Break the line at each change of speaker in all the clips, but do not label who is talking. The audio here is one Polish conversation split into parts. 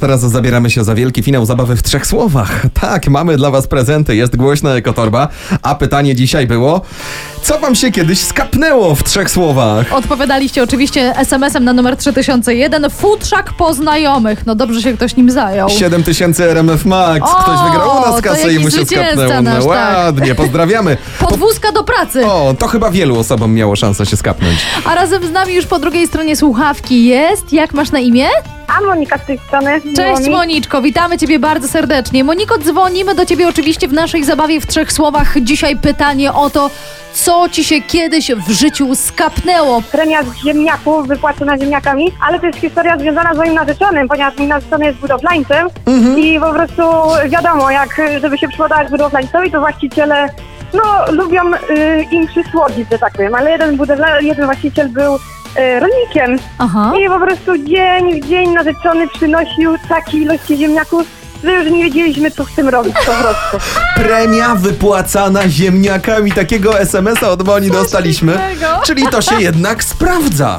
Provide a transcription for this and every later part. Teraz zabieramy się za wielki finał zabawy w trzech słowach. Tak, mamy dla was prezenty, jest głośna ekotorba, a pytanie dzisiaj było, co wam się kiedyś skapnęło w trzech słowach?
Odpowiadaliście oczywiście SMS-em na numer 3001. Futrzak poznajomych. No dobrze się ktoś nim zajął.
7000 RMF Max,
O,
ktoś wygrał u nas
to
kasę i
jakiś
mu się
zwycięzca
skapnęło. No
nasz, tak.
ładnie, pozdrawiamy.
Podwózka do pracy.
O, to chyba wielu osobom miało szansę się skapnąć.
A razem z nami już po drugiej stronie słuchawki jest. Jak masz na imię?
A Monika z tej strony. Miło
Cześć
mi.
Moniczko, witamy Ciebie bardzo serdecznie. Moniko, dzwonimy do Ciebie oczywiście w naszej zabawie w trzech słowach. Dzisiaj pytanie o to, co Ci się kiedyś w życiu skapnęło.
Premia z ziemniaków wypłacona ziemniakami, ale to jest historia związana z moim narzeczonym, ponieważ mój narzeczony jest budowlańcem i po prostu wiadomo, jak żeby się przypodać budowlańcowi, to właściciele no, lubią y, im przysłodzić, że tak powiem, ale jeden, budowla, jeden właściciel był y, rolnikiem
Aha.
i po prostu dzień w dzień narzeczony przynosił takie ilości ziemniaków, że już nie wiedzieliśmy, co z tym robić po prostu.
Premia wypłacana ziemniakami. Takiego SMS-a od Moni dostaliśmy.
pięknego.
Czyli to się jednak sprawdza.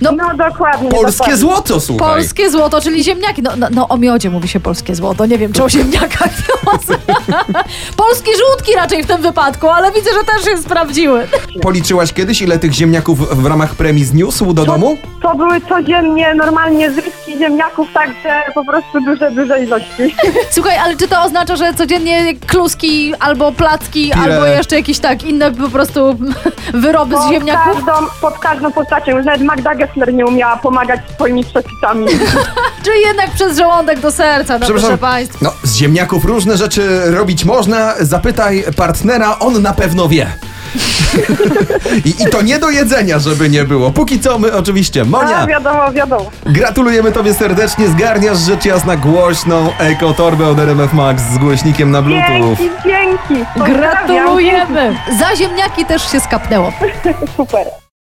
No dokładnie.
Polskie
dokładnie.
złoto, słuchaj.
Polskie złoto, czyli ziemniaki. No, no, no o miodzie mówi się polskie złoto. Nie wiem, czy o ziemniakach. Polskie żółtki raczej w tym wypadku, ale widzę, że też się sprawdziły.
Policzyłaś kiedyś, ile tych ziemniaków w ramach premii zniósł do domu?
To były codziennie normalnie zrywki ziemniaków, także po prostu duże, duże ilości.
Słuchaj, ale czy to oznacza, że codziennie kluski albo placki,
Pire.
albo jeszcze jakieś tak inne po prostu wyroby z ziemniaków?
Pod każdą, pod każdą postacią. Już nawet Magda Gessler nie umiała pomagać swoimi przepisami.
No
Czyli jednak przez żołądek do serca, no proszę Państwa.
No, z ziemniaków różne rzeczy robić można. Zapytaj partnera, on na pewno wie. I, I to nie do jedzenia, żeby nie było. Póki co my oczywiście. Monia,
A wiadomo, wiadomo.
gratulujemy tobie serdecznie. Zgarniasz rzecz jasna głośną ekotorbę od RMF Max z głośnikiem na bluetooth.
Dzięki, dzięki. Pozdrawiam.
Gratulujemy! Za ziemniaki też się skapnęło.
Super.